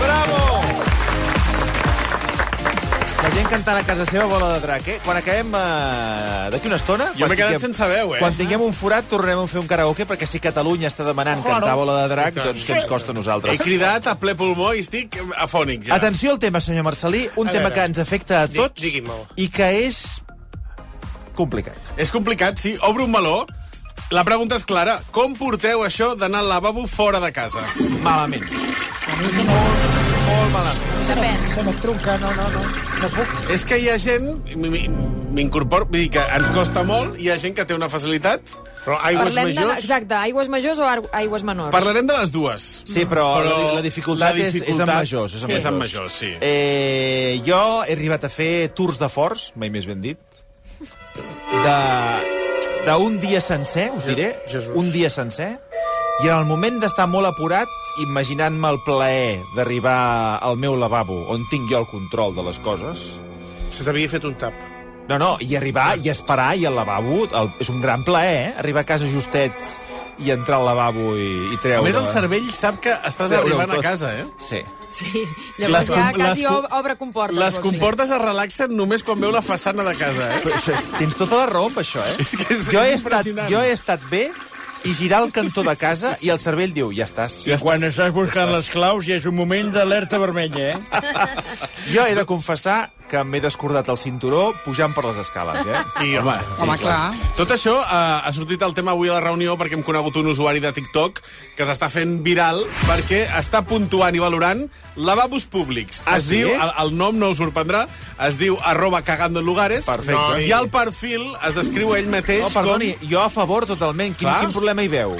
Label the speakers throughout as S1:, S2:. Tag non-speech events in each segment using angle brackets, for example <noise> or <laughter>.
S1: Bravo! La gent cantant a casa seva bola de drac, eh? Quan acabem eh, d'aquí una estona...
S2: Jo
S1: quan
S2: m'he quedat
S1: tinguem-
S2: sense veu, eh?
S1: Quan tinguem un forat, tornarem a fer un karaoke, perquè si Catalunya està
S2: Oh,
S1: demanant cantar bola de drac, doncs què ens costa a
S2: He
S1: nosaltres?
S2: cridat a ple pulmó i estic afònic, ja.
S1: Atenció al tema, senyor Marcelí, un
S3: A
S1: tema
S3: veure.
S1: que ens afecta a
S3: Di-
S1: tots
S3: digui-me'l.
S1: i que és complicat.
S2: És complicat, sí. Obre un meló. La pregunta és clara. Com porteu això d'anar al lavabo fora de casa?
S1: Malament. Molt malament.
S4: Depèn.
S3: Se me trunca, no, no, no. No puc.
S2: És que hi ha gent... m- m- M'incorporo... Vull dir que ens costa molt, hi ha gent que té una facilitat.
S3: Però aigües
S4: Parlem de,
S3: majors...
S4: exacte, aigües majors o ar- aigües menors?
S2: Parlarem de les dues.
S1: Sí, però, la, la dificultat,
S2: la
S1: És, és amb
S2: dificultat
S1: majors. És amb
S2: és amb majors, sí.
S1: Eh, jo he arribat a fer tours de forts, mai més ben dit, de d'un dia sencer, us diré,
S3: Jesús.
S1: un dia sencer, i en el moment d'estar molt apurat, imaginant-me el plaer d'arribar al meu lavabo, on tinc jo el control de les coses, Eh,
S3: Se t'havia fet un tap.
S1: no, no, i arribar, i esperar, i al lavabo, el, és un gran plaer, eh? Arribar a casa justet i entrar al lavabo i, i
S2: A
S1: treure...
S2: més, el cervell sap que estàs
S1: Veureu
S2: arribant a
S1: tot.
S2: casa, eh?
S1: Sí.
S4: Sí,
S2: Les
S4: llavors ja
S2: com-
S4: quasi
S2: les com-
S4: ob- obre comportes.
S2: Les
S4: vols dir.
S2: comportes es relaxen només quan veu la façana de casa, eh?
S1: Però això, és- tens tota la raó amb això, eh?
S2: És que és
S1: jo, he estat,
S2: impressionant.
S1: jo he estat bé i girar el cantó de casa i el cervell diu, ja estàs.
S2: Ja
S5: Quan
S2: estàs.
S5: estàs buscant les claus ja és un moment d'alerta vermella, eh?
S1: Jo he de confessar que m'he descordat el cinturó pujant per les escales, eh?
S2: <laughs> Sí, home, home clar. Tot això eh, ha sortit el tema avui a la reunió perquè hem conegut un usuari de TikTok que s'està fent viral perquè està puntuant i valorant lavabos públics. Es
S1: Ah, sí?
S2: diu, el, el nom no us sorprendrà, es diu arroba cagando en lugares.
S1: Perfecte.
S2: I al perfil es descriu ell mateix
S1: No, perdoni,
S2: com...
S1: jo a favor totalment. Quin,
S2: Clar.
S1: quin problema hi veu?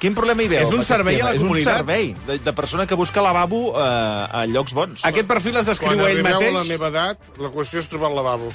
S1: Quin problema hi veu?
S2: És un
S1: amb aquest
S2: servei
S1: tema?
S2: a la
S1: És
S2: comunitat.
S1: un servei de, de persona que busca lavabo eh, a llocs bons.
S2: Aquest perfil es
S3: Quan
S2: descriu ell
S3: arribeu a
S2: mateix...
S3: la meva edat, la qüestió és trobar el lavabo.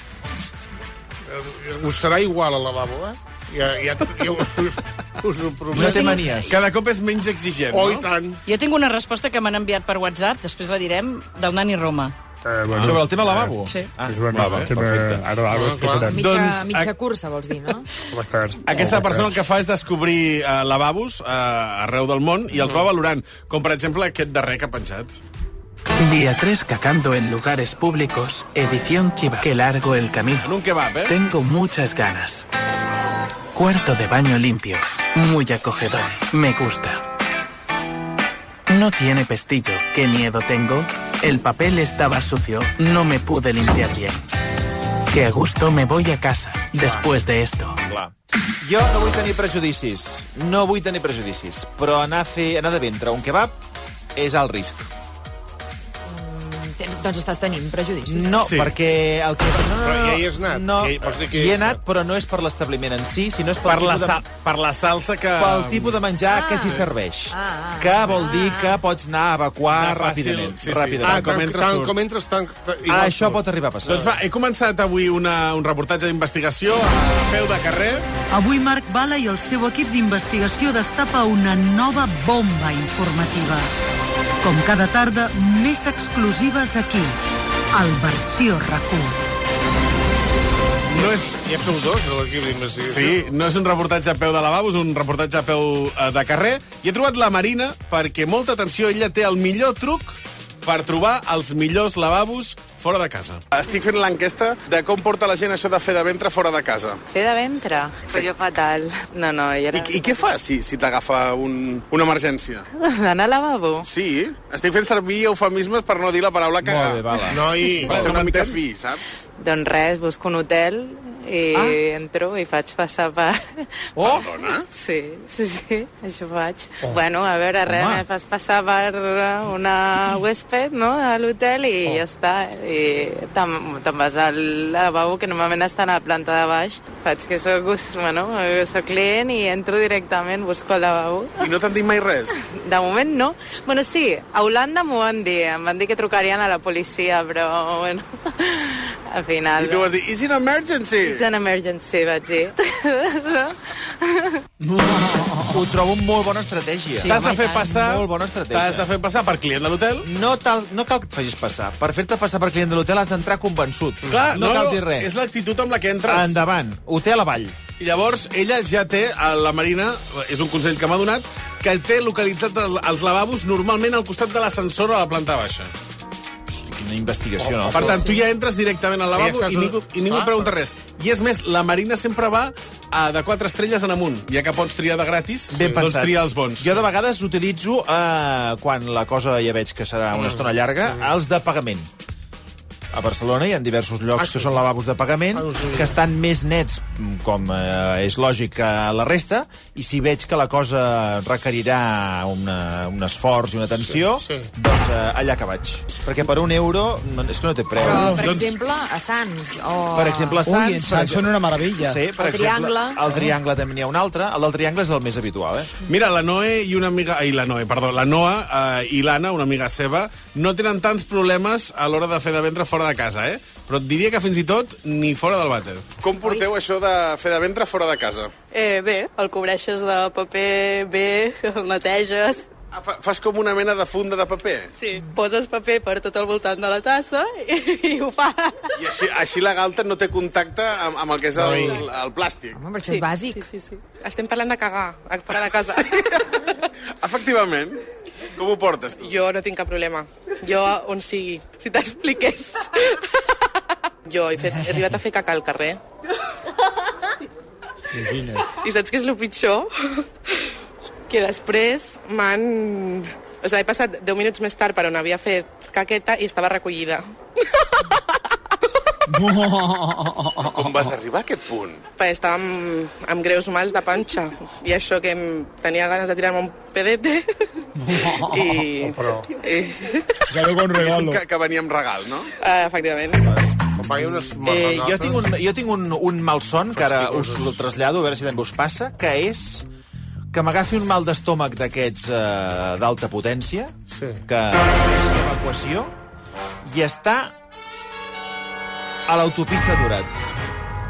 S3: Eh, Us serà igual al lavabo, eh? Ja, ja, ja us, us ho
S1: No té
S3: prometo.
S1: manies.
S2: Cada cop és menys exigent,
S3: Oh, i
S2: no?
S3: tant.
S6: Jo tinc una resposta que m'han enviat per WhatsApp, després la direm, del Nani Roma.
S3: Eh, bueno.
S1: Sobre el tema lavabo?
S6: Sí.
S1: Ah, va, va, perfecte.
S3: Ah, clar.
S4: Mitja,
S2: Doncs,
S4: mitja
S2: a-
S4: cursa, vols dir, no?
S1: Oh,
S2: Aquesta persona el que fa és descobrir eh, lavabos eh, arreu del món i
S1: Mm.
S2: els va valorant, com per exemple aquest darrer que ha penjat.
S7: Día 3 cacando en lugares públicos, edición Kiva. Que largo el
S2: En
S7: camino.
S2: un kebab, eh?
S7: Tengo muchas ganas. Cuarto de baño limpio, muy acogedor, me gusta. No tiene pestillo, qué miedo tengo. El papel estaba sucio, no me pude limpiar bien. Que a gusto me voy a casa después de esto.
S1: Clar. Jo no vull tenir prejudicis. No vull tenir prejudicis. Però anar, a fer, anar de ventre a un kebab és alt risc.
S4: Tens, doncs estàs tenint prejudicis.
S1: No, sí.
S2: Sí.
S1: perquè el kebab... No, no,
S3: Però
S1: no,
S3: ja hi has anat.
S1: No,
S3: Ja hi- vols dir que
S1: hi
S3: hi
S1: he
S3: has
S1: anat, però no és per l'establiment en si, sinó és pel,
S2: Per la,
S1: tipus,
S2: sa,
S1: de,
S2: per la salsa que...
S1: pel tipus de menjar
S4: Ah.
S1: que s'hi serveix.
S4: Ah, ah,
S1: que vol dir que pots anar a evacuar
S2: De fàcil,
S1: ràpidament.
S2: sí, sí.
S3: Ah,
S1: ràpidament.
S2: com
S3: com
S2: entres,
S3: entres, tant,
S2: surt.
S3: com entres, tant... tant-
S1: Ah,
S3: igual
S1: això
S3: surt.
S1: pot arribar a passar.
S2: Doncs va, he començat avui una, un reportatge d'investigació a peu de carrer.
S8: Avui Marc Bala i el seu equip d'investigació destapa una nova bomba informativa. Com cada tarda, més exclusives aquí, al Versió RAC1.
S2: No és,
S3: Ja sou dos, de l'equip d'investigació.
S2: sí, no és un reportatge a peu de lavabo, és un reportatge a peu eh, de carrer. I he trobat la Marina perquè, molta atenció, ella té el millor truc per trobar els millors lavabos fora de casa. Estic fent l'enquesta de com porta la gent això de fer de ventre fora de casa.
S9: Fer de ventre? Però jo fatal. No, no, i <laughs> ara...
S2: què fas si, si t'agafa un, una emergència?
S9: Anar al lavabo?
S2: Sí, estic fent servir eufemismes per no dir la paraula
S1: Molt bé, va, va.
S3: Noi,
S2: Per ser una mica
S3: m'entens?
S2: fi, saps?
S9: Doncs res, busco un hotel i ah. entro i faig passar per... <laughs>
S1: Oh!
S9: Sí, sí, sí, això faig. Oh. Bueno, a veure, res,
S1: Home.
S9: me fas passar per una huésped, no?, a l'hotel i oh. ja està. I te'n te vas al lavabo, que normalment estan a la planta de baix. Faig que soc, bueno, soc client i entro directament, busco el lavabo.
S2: I no t'han dit mai res?
S9: De moment no. Bueno,
S10: <laughs>
S9: sí, a Holanda m'ho van dir. Em van dir que trucarien a la policia, però, bueno... al final...
S2: I tu vas dir, it's an emergency!
S9: It's an emergency, vaig
S10: <laughs>
S9: dir.
S1: Ho trobo molt bona estratègia.
S2: Sí, T'has de home, fer i tant. passar-
S1: Molt bona estratègia.
S2: t'has de fer passar per client de l'hotel.
S1: No, tal, no cal que et facis passar. Per fer-te passar per client de l'hotel has d'entrar convençut.
S2: Clar,
S1: no, cal dir res.
S2: És l'actitud amb la que entres.
S1: Endavant. Hotel avall.
S2: I llavors, ella ja té, a la Marina, és un consell que m'ha donat, que té localitzat el- els lavabos normalment al costat de l'ascensor a la planta baixa.
S1: Quina investigació, no?
S2: Per tant, tu ja entres directament al lavabo
S1: Ja saps
S2: i ningú,
S1: on-
S2: i ningú
S1: Clar.
S2: et pregunta res. I és més, la Marina sempre va a de quatre estrelles en amunt, ja que pots triar de gratis,
S1: Ben
S2: doncs
S1: pensat.
S2: tria els bons.
S1: Jo de vegades utilitzo, eh, quan la cosa ja veig que serà una estona llarga, els de pagament. A Barcelona hi ha diversos
S4: Ah,
S1: llocs que són lavabos de pagament que estan més nets, mm, com eh, és lògic, que la resta, i si veig que la cosa requerirà una, un esforç i una atenció, sí, sí. doncs eh, allà que vaig. Perquè per un euro no, és que no té preu.
S4: Però, per exemple, a Sants o...
S1: doncs- Per exemple, Sants...
S5: Ui, en Sants són una meravella.
S1: Sí, per exemple,
S4: El Triangle.
S1: El Triangle també n'hi ha un altre. El del Triangle és el més habitual, eh?
S2: Mira, la Noe i una amiga... Ai, la Noe, perdó. La Noa eh, i l'Anna, una amiga seva, no tenen tants problemes a l'hora de fer de ventre fora de casa, eh? Però et diria que fins i tot ni fora del vàter. Com porteu Oi? això de fer de ventre fora de casa?
S10: Eh, bé, el cobreixes de paper bé, el neteges...
S2: Ah, Fa, fas com una mena de funda de paper?
S10: Sí, poses paper per tot el voltant de la tassa i, i ho fa.
S2: I així, així la galta no té contacte amb, amb el que és el, el plàstic.
S4: Home, però això és bàsic.
S10: Sí, sí, sí. Estem parlant de cagar a- fora de casa.
S2: Efectivament. Com ho portes, tu?
S10: Jo no tinc cap problema. Jo, on sigui, si t'expliqués. <laughs> Jo he, fet, he arribat a fer caca al carrer. I saps què és el pitjor? Que després m'han... O sigui, he passat 10 minuts més tard per on havia fet caqueta i estava recollida.
S2: Com vas arribar a aquest punt?
S10: Perquè estava amb, amb greus mals de panxa. I això que em tenia ganes de tirar-me un pedete... I...
S3: Però...
S10: i eh,
S5: Ja veu con regalo.
S2: que venia amb regal, no?
S10: uh, efectivament.
S1: Eh, jo tinc, un, jo tinc un, un malson, que ara us el trasllado, a veure si també us passa, que és que m'agafi un mal d'estómac d'aquests eh, d'alta potència, sí. que és evacuació, i està a l'autopista d'Urat.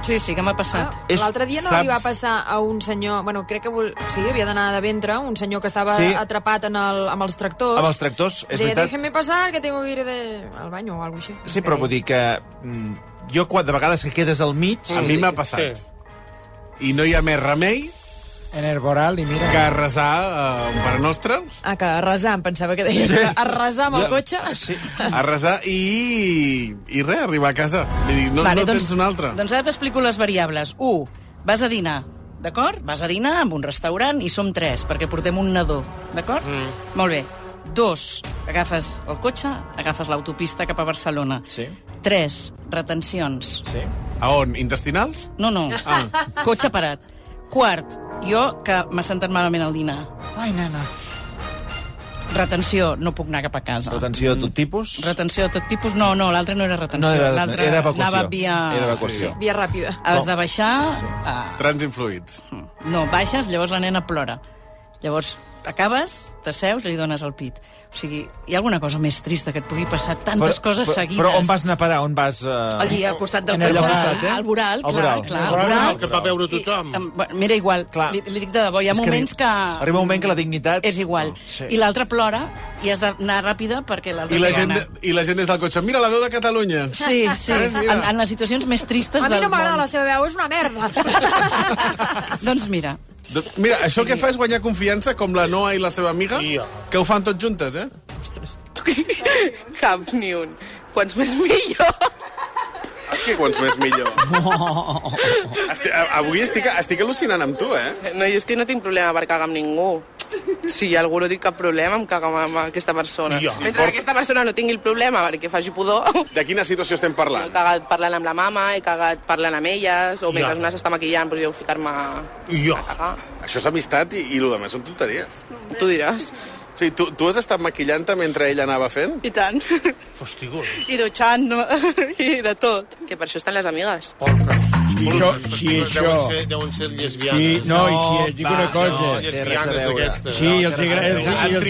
S6: Sí, sí, que m'ha passat.
S1: És-
S4: L'altre dia no
S1: saps-
S4: saps... li va passar a un senyor... Bueno, crec que vol... sí, havia d'anar de ventre, un senyor que estava
S1: Sí.
S4: sí. atrapat en el, amb els tractors.
S1: Amb els tractors, és
S4: de,
S1: veritat.
S4: Déjeme pasar, que tengo que ir de... al baño o alguna cosa així.
S1: Sí, però vull dir que mm, jo, quan de vegades que quedes al mig...
S2: A mi m'ha passat. I no hi ha més remei
S5: En Herboral, i mira...
S2: que resar eh, un Pare Nostre,
S4: Ah, que a resar, em pensava que deies sí. a resar amb el
S2: Ja,
S4: cotxe.
S1: Sí.
S2: a resar i, i res, arribar a casa. Vull dir, no, vale, no doncs, tens un altre.
S6: Doncs ara t'explico les variables. 1. Vas a dinar, d'acord? Vas a dinar amb un restaurant i som tres, perquè portem un nadó, d'acord? Mm. Molt bé. 2. Agafes el cotxe, agafes l'autopista cap a Barcelona.
S1: Sí.
S6: 3. Retencions.
S1: Sí.
S5: doncs-
S2: A on? Intestinals?
S6: No, no.
S2: Ah.
S6: Cotxe parat. Quart, jo, que m'ha sentat malament al dinar.
S5: Ai, nena.
S6: Retenció, no puc anar cap a casa.
S1: Retenció de tot tipus.
S6: Retenció de tot tipus? No, no, l'altra no era retenció.
S1: No, era-
S6: l'altra
S1: era evacuació.
S6: Anava via...
S1: Era evacuació.
S4: Via ràpida.
S6: Has de baixar... Ah,
S2: Trànsit fluid.
S6: No, baixes, llavors la nena plora. Llavors acabes, t'asseus i li dones el pit. O sigui, hi ha alguna cosa més trista que et pugui passar tantes coses
S1: però,
S6: seguides.
S1: Però on vas anar a parar? On vas... Eh...
S6: Allí, al costat del
S1: En el
S6: cotxe,
S1: costat, eh?
S6: al
S1: Al
S6: voral, clar,
S1: voral.
S6: clar.
S1: Al voral,
S6: voral.
S1: que va veure tothom.
S6: I, em, va- M'era igual,
S1: Clar.
S6: li, li dic de debò, hi ha
S1: És que
S6: moments que...
S1: Arriba un moment que la dignitat...
S6: És igual.
S1: Sí.
S6: I l'altra plora i has d'anar ràpida perquè l'altra
S2: I la,
S6: té
S2: gent,
S6: gana.
S2: I la gent des del cotxe, mira la veu de Catalunya.
S6: Sí, sí.
S2: Eh, mira.
S6: En, en les situacions més tristes
S4: A mi
S6: del
S4: no m'agrada
S6: món.
S4: la seva veu, és una merda.
S6: <laughs>
S5: <laughs>
S6: Doncs mira,
S2: Doncs Mira, això que fa és guanyar confiança, com la Noa i la seva amiga, que ho fan tots juntes, eh?
S10: <laughs> Cap ni un. Quants més millor.
S2: Aquí quants més millor. Esti, avui estic, estic al·lucinant amb tu, eh?
S10: No, jo és que no tinc problema per cagar amb ningú. Si hi ha algú no tinc cap problema em cagar amb, amb aquesta persona.
S2: Ja.
S10: Mentre que aquesta persona no tingui el problema perquè faci pudor, <laughs>
S2: De quina situació estem
S10: he
S2: parlant?
S10: cagat parlant amb la mama, he cagat parlant amb elles, o mentre una s'està maquillant, doncs jo ficar-me a
S3: ah,
S10: cagar.
S2: Això és amistat i, i el que més són tonteries.
S10: Tu diràs.
S2: O sigui, tu, tu has estat maquillant-te mentre ella anava fent?
S10: I tant.
S3: Hostigo.
S10: <laughs> I dutxant, i de tot. Que per això estan les amigues.
S5: això- si
S3: Deuen
S5: això-
S3: ser, deuen ser
S5: Sí,
S3: lesbianes.
S5: no, i si et dic
S3: va,
S5: una cosa...
S3: No, lesbianes d'aquestes.
S5: Sí, els agrada... els- els- els-
S3: Sí,
S5: I dic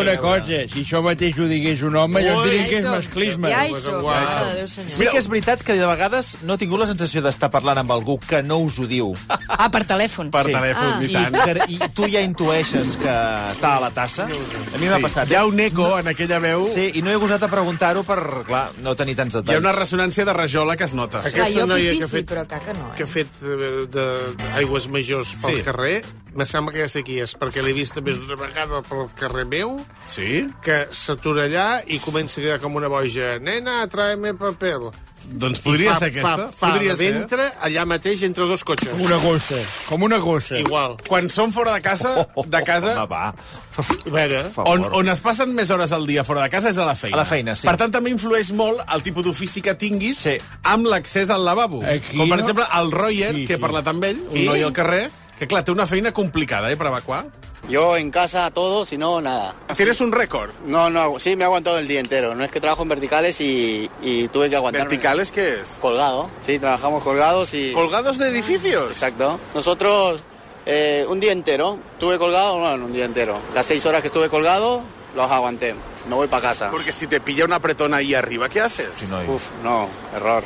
S5: una cosa, si això mateix ho digués un home, jo
S1: Ui, ja
S5: diria
S1: hi
S5: que és
S1: som,
S5: masclisme.
S1: ja hi som,
S5: Ja hi
S1: mare
S5: som.
S1: de Déu, senyor. Sí que és veritat que de vegades no he tingut la sensació d'estar parlant amb algú que no us ho diu.
S6: Ah, per telèfon.
S1: Sí. I, que- I tu ja intueixes que està a la tassa. A mi m'ha
S2: Sí,
S1: passat. eh?
S2: hi ha un eco en aquella veu.
S1: Sí, i no he gosat a preguntar-ho per, clar, no tenir tants detalls.
S2: Hi ha una ressonància de rajola que es nota.
S3: Aquesta
S4: Clar, jo
S3: noia
S4: pipí
S3: que ha
S4: sí,
S3: fet-
S4: però caca no, eh?
S3: que ha fet eh, de- d'aigües majors pel
S2: Sí.
S3: sí. carrer, me sembla que ja sé qui és, perquè l'he vist més d'una vegada pel carrer meu,
S2: Sí?
S3: que s'atura allà i comença a cridar com una boja, nena, tráeme papel.
S2: Doncs podria
S3: I fa,
S2: ser aquesta.
S3: Fa, fa
S2: podria
S3: podria
S2: ser. eh?
S3: ventre allà mateix entre dos cotxes.
S5: Una gossa, com una gossa.
S3: Igual.
S2: Quan som fora de casa, de
S3: Oh,
S2: casa...
S1: Oh, Home, va.
S3: A veure...
S2: On, on es passen més hores al dia fora de casa és a la feina.
S1: A la feina, sí.
S2: Per tant, també influeix molt el tipus d'ofici que tinguis sí. amb l'accés al lavabo.
S5: Aquí
S2: Com, per
S5: no.
S2: exemple, el Royer,
S5: Sí,
S2: sí, que he
S5: sí.
S2: parlat amb ell, un
S5: Sí.
S2: noi al carrer, que, clar, té una feina complicada, eh, per evacuar.
S11: Yo en casa todo, si no, nada.
S2: Ah, ¿Tienes un récord?
S11: No, no, hago- sí, me he aguantado el día entero. No es que trabajo en verticales y, y tuve que aguantar.
S2: ¿Verticales qué es?
S11: Colgado. Sí, trabajamos colgados y...
S2: ¿Colgados de edificios?
S11: Exacto. Nosotros eh, un día entero, tuve colgado, bueno, un día entero. Las seis horas que estuve colgado, los aguanté. Me voy para casa.
S2: Porque si te pilla una pretona ahí arriba, ¿qué haces?
S11: Uf, no, error.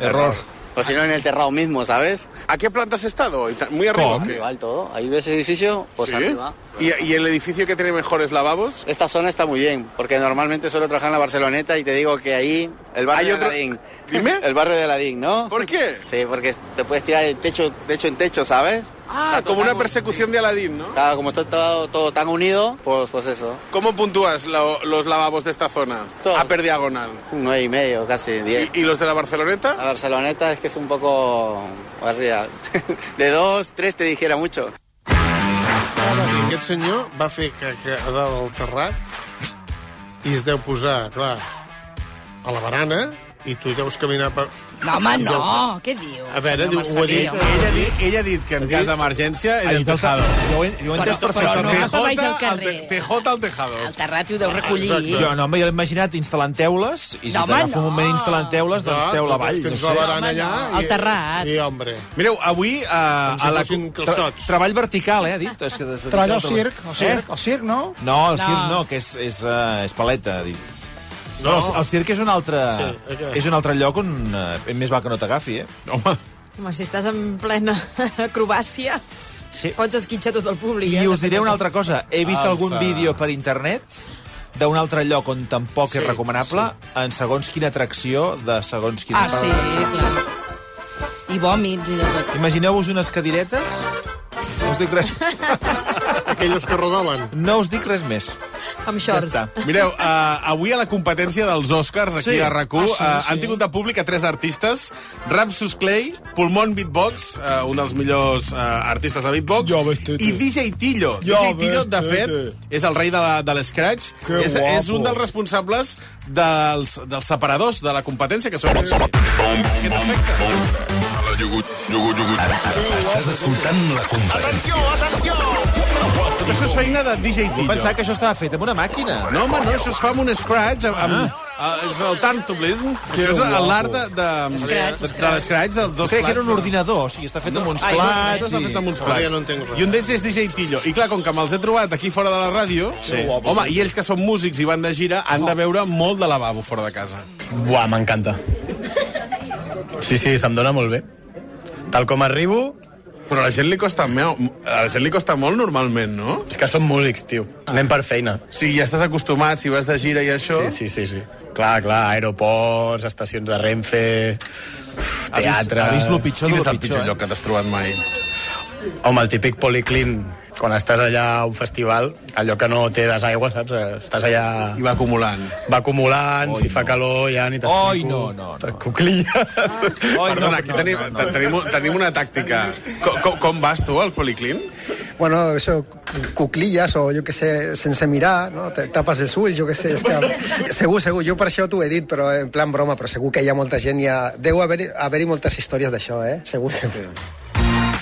S1: Error.
S11: O si no, en el terrado mismo, ¿sabes?
S2: ¿A qué planta has estado? ¿Muy
S11: arriba?
S2: ¿o qué?
S11: Igual todo. Ahí ves el edificio, pues
S2: ¿Sí?
S11: arriba.
S2: ¿Y, y el edificio que tiene mejores lavabos?
S11: Esta zona está muy bien, porque normalmente suelo trabajar en la Barceloneta y te digo que ahí, el barrio
S2: Hay
S11: de
S2: otro-
S11: Aladín.
S2: Dime.
S11: El barrio de Aladín, ¿no?
S2: ¿Por qué?
S11: Sí, porque te puedes tirar de techo, techo en techo, ¿sabes?
S2: Ah, como una persecución de Aladín, ¿no?
S11: Claro, como está todo, todo tan unido, pues, pues eso.
S2: ¿Cómo puntúas lo- los lavabos de esta zona? A per diagonal.
S11: Un nueve y medio, casi diez.
S2: ¿Y, y los de la Barceloneta?
S11: La Barceloneta es que es un poco arriba. <laughs> de dos, tres te dijera mucho.
S3: Sí, aquest senyor va fer caca a dalt del terrat i es deu posar, clar, a la barana i tu deus caminar per...
S6: No, home, no, què diu?
S3: A veure, diu, ho ha dit.
S2: Ella, ha dit- ella ha dit que en cas d'emergència era el tejado.
S1: Jo ho he, jo ho he entès
S6: Però- però no
S1: perfectament.
S6: cap a baix
S2: TJ
S6: al
S2: al
S6: carrer.
S2: te- TJ al tejado.
S6: El terrat hi
S3: Ah,
S6: ho deu recollir.
S1: Jo no, home, jo l'he imaginat instal·lant teules, i si
S6: No, home,
S1: t'agafa un moment instal·lant teules, doncs
S2: Ah,
S3: No,
S1: teula avall.
S3: tens
S1: no
S3: la
S1: sé.
S3: barana Home, no, allà i- al terrat. i, hombre.
S2: Mireu, avui eh, a la...
S3: fossin
S2: Tra-
S3: calçots.
S1: Treball vertical, eh, ha dit. És que des de
S12: Treballa al
S1: treball-
S12: circ, al circ, al circ, no?
S1: Eh? No, el
S12: No.
S1: circ no, que és, és, uh, és paleta, ha dit. No,
S12: No.
S1: el, el circ és un altre,
S12: Sí,
S1: sí,
S12: aquest.
S1: és un altre lloc on uh, més val que no t'agafi, eh?
S2: Home.
S4: Home, si estàs en plena <laughs> acrobàcia,
S1: sí.
S4: pots esquitxar tot el públic.
S1: I
S4: eh?
S1: us diré una altra cosa. He vist
S12: Alça.
S1: algun vídeo per internet d'un altre lloc on tampoc sí, és recomanable, sí. en segons quina atracció de segons quina
S6: Ah, sí, clar. I vòmits i de
S1: Ah.
S6: tot.
S1: Imagineu-vos unes cadiretes... No us dic res.
S3: <laughs> Aquelles que rodolen.
S1: No us dic res més.
S4: Amb shorts.
S1: Ja
S2: Mireu, eh, avui a la competència dels Oscars aquí
S1: Sí.
S2: a rac
S1: Ah, sí,
S2: eh,
S1: sí.
S2: han tingut de públic a tres artistes, Rapsus Clay, Pulmón Beatbox, eh, un dels millors eh, artistes de beatbox, i DJ Tillo.
S5: Ja
S2: DJ Tillo, de
S5: ves,
S2: fet,
S5: tete.
S2: és el rei de, la, de l'escratch.
S5: Que
S2: És, és
S5: guapo.
S2: un dels responsables dels, dels separadors de la competència, que són... Aquest efecte.
S13: Estàs escoltant la competència.
S2: Tot això és feina de DJ Tillo.
S1: Pensava que això estava fet amb una màquina.
S2: No, home, no, això es fa amb un scratch, amb... amb ah, és el tantoblism.
S1: Que
S2: Això és
S1: guapo.
S2: l'art de, de,
S1: Scratch,
S2: de, de
S1: scratch.
S2: l'escratch dels dos
S1: Crec que era
S2: plats,
S1: un
S2: no?
S1: ordinador, o sigui, està fet amb uns
S2: Ah, això
S1: plats...
S2: està- això està
S1: i-
S2: fet amb uns plats.
S3: ja no entenc res.
S2: I un d'ells és DJ Tillo. I clar, com que me'ls he trobat aquí fora de la ràdio,
S13: Sí.
S2: home, i ells que són músics i van de gira, han de veure molt de lavabo fora de casa.
S13: Buah, m'encanta. Sí, sí, se'm dona molt bé. Tal com arribo...
S2: Però a la gent li costa, meu, a la gent li costa molt normalment, no?
S13: És que som músics, tio. Anem per feina.
S2: Sí, ja estàs acostumat, si vas de gira i això...
S13: Sí, sí, sí. sí. Clar, clar, aeroports, estacions de Renfe, teatre...
S2: Ha vist- ha vist lo pitjor
S13: Quin
S2: de lo
S13: és el
S2: pitjor, eh?
S13: lloc
S2: que t'has trobat mai?
S13: Home, el típic policlin, quan estàs allà a un festival, allò que no té desaigua, saps? Estàs allà...
S2: I va acumulant.
S13: Va acumulant, si fa calor ja ni t'explico. Oi, no, no. no. Cuclilles.
S1: Ah.
S2: Oi, Perdona, aquí tenim, te- Tenim, tenim una tàctica. Com, com, com vas tu, al Policlin?
S14: Bueno, eso, cuclillas o jo que sé, sense mirar, no? Te- tapes els ulls, jo que sé. És que... Segur, segur, jo per això t'ho he dit, però en plan broma, però segur que hi ha molta gent, hi ha... deu haver- haver-hi haver moltes històries d'això, eh? Segur, segur.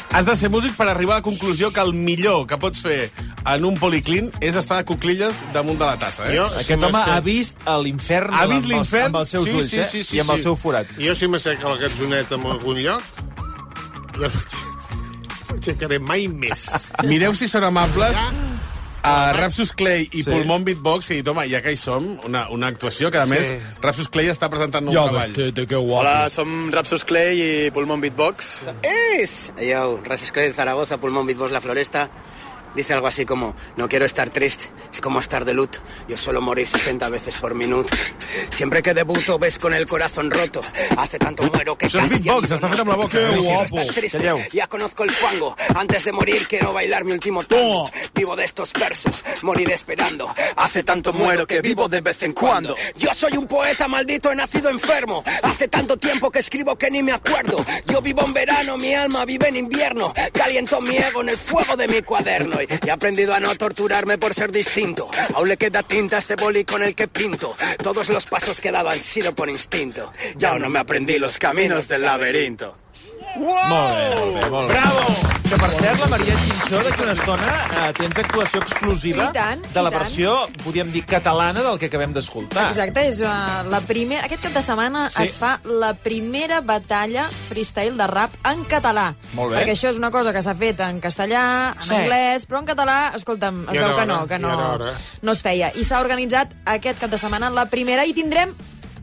S2: Has de ser músic per arribar a la conclusió que el millor que pots fer en un policlin és estar a cuclilles damunt de la tassa. Eh?
S1: Jo, Aquest home ha vist a l'infern
S2: Ha
S1: amb
S2: vist
S1: els-
S2: l'infern?
S1: amb els seus
S2: Sí,
S1: ulls
S2: sí,
S1: eh?
S2: sí, sí,
S1: i amb el
S2: sí.
S1: seu forat.
S3: Jo si m'asseca la cançoneta en algun lloc, jo no aixecaré mai més.
S2: Mireu si són amables a Rapsus Clay i
S3: Sí.
S2: sí. Pulmón Beatbox i dit, home, ja que hi som, una, una actuació que, a més,
S13: Sí.
S2: Rapsus Clay està presentant un
S13: Ja ho
S2: treball.
S13: veig,
S2: que
S13: Hola, som Rapsus Clay i Pulmón Beatbox.
S12: ¡Es! Yo, Rases Clay de Zaragoza, Pulmón Bitbos La Floresta. Dice algo así como, no quiero estar triste, es como estar de luto, yo solo morir 60 veces por minuto. Siempre que debuto ves con el corazón roto, hace tanto muero que
S2: Això és
S12: casi...
S2: Pues beatbox, està fent amb la boca.
S12: Quiero estar triste, ya conozco el fango, antes de morir quiero bailar mi último tango. Vivo de estos versos, morir esperando, hace tanto muero que vivo de vez en cuando. Yo soy un poeta maldito, he nacido enfermo, hace tanto tiempo que escribo que ni me acuerdo. Yo vivo en verano, mi alma vive en invierno, caliento mi ego en el fuego de mi cuaderno y he aprendido a no torturarme por ser distinto. Aún le queda tinta a este boli con el que pinto, todos los pasos que he dado han sido por instinto. Ya no me aprendí los caminos del laberinto.
S1: Molt bé, molt bé, molt bé. Bravo! Que, per cert, la Maria Chinchó, d'aquí una estona, eh, tens actuació exclusiva
S4: I tant,
S1: de la
S4: i tant.
S1: versió, podríem dir, catalana del que acabem d'escoltar.
S4: Exacte, és uh, la primera... Aquest cap de setmana
S1: Sí.
S4: sí. es fa la primera batalla freestyle de rap en català.
S1: Molt bé.
S4: Perquè això és una cosa que s'ha fet en castellà, en
S15: Sí.
S4: sí. anglès, però en català, escolta'm, es veu
S15: Ja era
S4: que no,
S15: hora,
S4: que no,
S15: ja era hora.
S4: no es feia. I s'ha organitzat aquest cap de setmana la primera i tindrem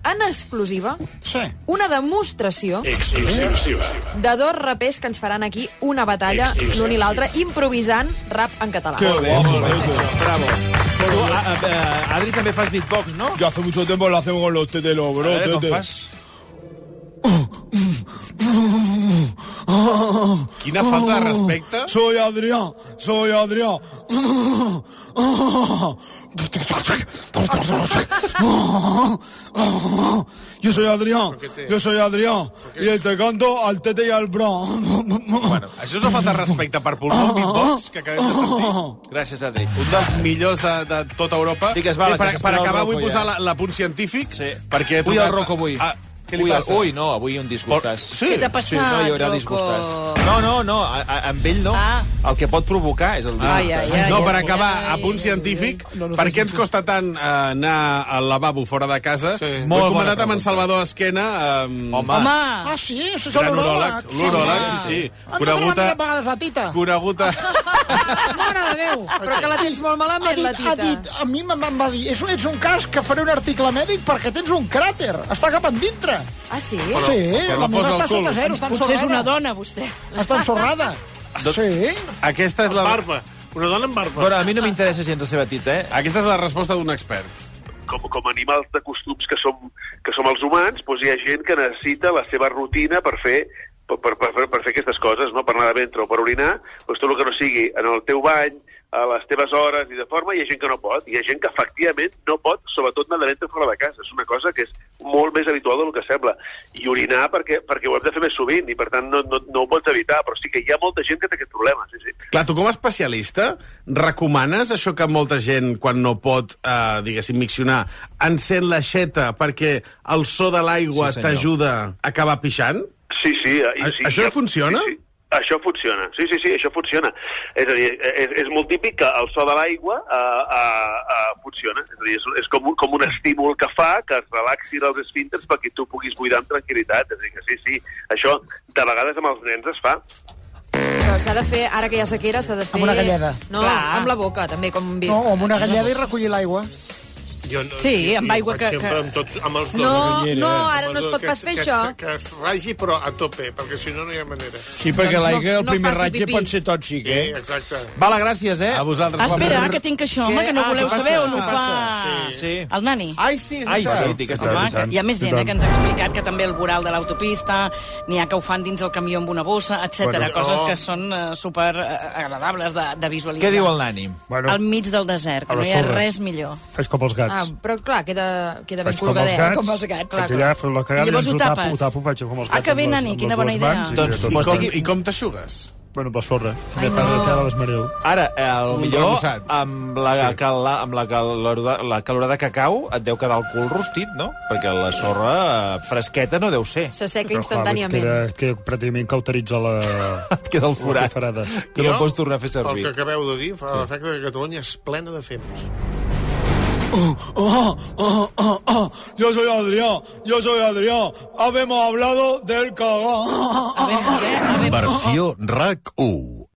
S4: en exclusiva sí. una demostració
S16: Exclusiva.
S4: de dos rapers que ens faran aquí una batalla,
S1: Exclusiva.
S4: l'un i l'altre, improvisant rap en català.
S1: Que guapo, bravo. Però tu, a- a- eh, Adri, també fas beatbox, no?
S5: Yo hace mucho tiempo lo hacemos con los tetelos, bro.
S1: A ver, ¿cómo
S5: tete.
S1: fas?
S2: Quina falta
S13: Oh,
S2: de respecte.
S5: Soy Adrián, soy Adrián. Yo soy Adrián, yo soy Adrián. Y te canto al tete y al bro. Bueno,
S2: Això és una falta de respecte per
S13: Oh,
S2: Pulmón Beatbox, que acabem de sentir.
S1: Gràcies, Adri.
S2: Un dels millors de, de tota Europa.
S1: Digues, va,
S2: I
S1: la
S2: per,
S1: que
S2: per
S1: espera el
S2: acabar vull
S1: Rocco,
S2: posar
S1: ja.
S2: la, la punt científic, sí. perquè... he
S1: Ui, el
S2: trucat-
S1: Rocco, avui.
S2: Ah, què li
S1: Ui,
S2: passa?
S1: Ui, no, avui un disgustàs.
S2: sí. Què t'ha
S1: Sí, no, hi haurà
S6: passat,
S1: disgustàs.
S6: Rocco?
S1: No, no, no, a, a, amb ell no.
S6: Ah.
S1: El que pot provocar és el disgustàs.
S6: Ai, ai, ai,
S2: no,
S6: ai,
S2: per
S6: ai,
S2: acabar,
S6: ai,
S2: a punt científic,
S1: No, no
S2: per
S1: sé
S2: què ens costa tant eh, anar al lavabo fora de casa? Sí. Ho he
S1: Molt bona
S2: comentat amb en Salvador Esquena. Um,
S15: Ah, sí? Això és
S2: Gran
S15: l'uròleg.
S2: uròleg. L'uròleg, sí, sí. Conegut a...
S15: a... vegades la tita.
S2: Conegut a...
S15: Mare de Déu.
S4: Però que la tens molt malament,
S15: ha dit,
S4: la tita.
S15: Ha dit, a mi em va dir, és, ets un cas que faré un article mèdic perquè tens un cràter. Està cap endintre.
S4: Ah, sí?
S15: Però- Sí, que no la meva fos està el cul. sota zero, està
S6: Potser és
S15: ensorrada.
S6: una dona, vostè.
S1: Ah,
S15: Està ensorrada.
S2: Sí. Doncs Aquesta és la...
S3: Barba. Una dona amb barba.
S1: Però a mi no m'interessa gens la seva tita, eh?
S2: Aquesta és la resposta d'un expert.
S17: com, com animals de costums que som, que som els humans, doncs hi ha gent que necessita la seva rutina per fer per, per, per, fer- per fer aquestes coses, no? per anar de ventre o per orinar, doncs tot el que no sigui en el teu bany, a les teves hores i de forma, hi ha gent que no pot. Hi ha gent que efectivament no pot, sobretot anar de ventre fora de casa. És una cosa que és molt més habitual del que sembla. I orinar perquè, perquè ho hem de fer més sovint i, per tant, no, no, no ho pots evitar. Però sí que hi ha molta gent que té aquest problema. Sí, sí.
S2: Clar, tu com a especialista recomanes això que molta gent, quan no pot, eh, diguéssim, miccionar, encén l'aixeta perquè el so de l'aigua
S17: Sí,
S2: sí,
S17: senyor.
S2: t'ajuda a acabar pixant?
S17: Sí, sí. eh, I,
S2: A-
S17: sí
S2: això
S17: hi ha-
S2: funciona?
S17: Sí, sí. Això funciona, sí, sí, sí, això funciona. És a dir, és, és molt típic que el so de l'aigua uh, uh, uh, funciona. És a dir, és, és com, un, com un estímul que fa que es relaxin els esfínters perquè tu puguis buidar amb tranquil·litat. És a dir, que sí, sí, això de vegades amb els nens es fa.
S4: Però s'ha de fer, ara que hi ha sequera, s'ha de fer...
S15: Amb una galleda.
S4: No,
S15: Clar.
S4: amb la boca, també, com un vi.
S15: No, o amb una galleda i recollir l'aigua.
S3: Jo no,
S4: Sí,
S3: jo-
S4: amb
S3: jo
S4: aigua
S3: faig
S4: que-
S3: sempre
S4: que-
S3: Amb, tots, amb els dos.
S4: No,
S3: Amb
S4: no,
S15: eh?
S3: els
S4: ara no es
S3: dos,
S4: pot
S3: que
S4: pas fer
S3: que
S4: això.
S3: es- Que es ragi, però a tope, perquè si no, no hi ha manera.
S5: Sí, perquè
S4: Doncs
S5: l'aigua, el primer ratge pot ser tòxic, eh?
S3: Sí, exacte.
S1: Vala, gràcies, eh?
S2: A vosaltres.
S6: Ah, espera, que tinc això, home, que no
S1: Ah,
S6: voleu
S1: passa,
S6: saber on ho
S1: passa,
S6: fa
S1: Sí, sí.
S6: el nani.
S1: Ai, sí, és Ai, veritat. sí, tic, està bé,
S6: Home,
S1: i tant.
S6: que Hi ha més
S1: I
S6: gent eh,
S1: tant.
S6: que ens ha explicat que també el voral de l'autopista, n'hi ha que ho fan dins el camió amb una bossa, etc.
S1: Bueno,
S6: Coses
S1: oh.
S6: que són eh, super eh, agradables de, de visualitzar.
S1: Què diu el nani?
S6: Bueno, Al mig del desert,
S16: a
S6: que
S16: la
S6: no hi ha
S16: sorra.
S6: res millor.
S16: Faig com els
S4: Ah,
S16: gats.
S4: però clar, queda, queda ben
S16: faig com els
S4: colgadet, eh,
S16: gats.
S4: com els gats.
S16: Faig allà, fot la cagada,
S6: I llavors
S16: llavors ho
S6: ho
S16: tapo,
S6: tapes.
S16: ho tapo, faig com els
S6: Ah,
S16: gats.
S6: que bé,
S16: amb les-
S6: nani,
S16: amb les
S6: quina bona
S16: dues
S6: idea.
S16: mans i
S2: Doncs,
S16: tot.
S2: i, com, I com t'aixugues?
S16: Bueno, per sorra.
S1: Ai,
S16: de fan
S1: no.
S16: de terra les mareu.
S1: Ara, eh, el
S16: Un
S1: millor,
S16: remussat.
S1: amb la,
S16: Sí.
S1: sí. la, amb la, calorada, la calorada que cau, et deu quedar el cul rostit, no? Perquè la sorra eh, fresqueta no deu ser.
S4: S'asseca
S16: Però, clar,
S4: instantàniament.
S16: Queda, queda pràcticament cauteritza la...
S1: <laughs> Et queda el
S16: forat. Farada.
S1: Que no el pots tornar a fer
S3: Pel
S1: servir.
S3: que acabeu de dir, fa
S1: Sí.
S3: sí. l'efecte que Catalunya és plena de fems.
S5: Oh, oh, oh, oh, oh. Yo soy Adrián, yo soy Adrián.
S2: Doncs-
S5: Habemos hablado del cagón.
S18: Versió RAC 1.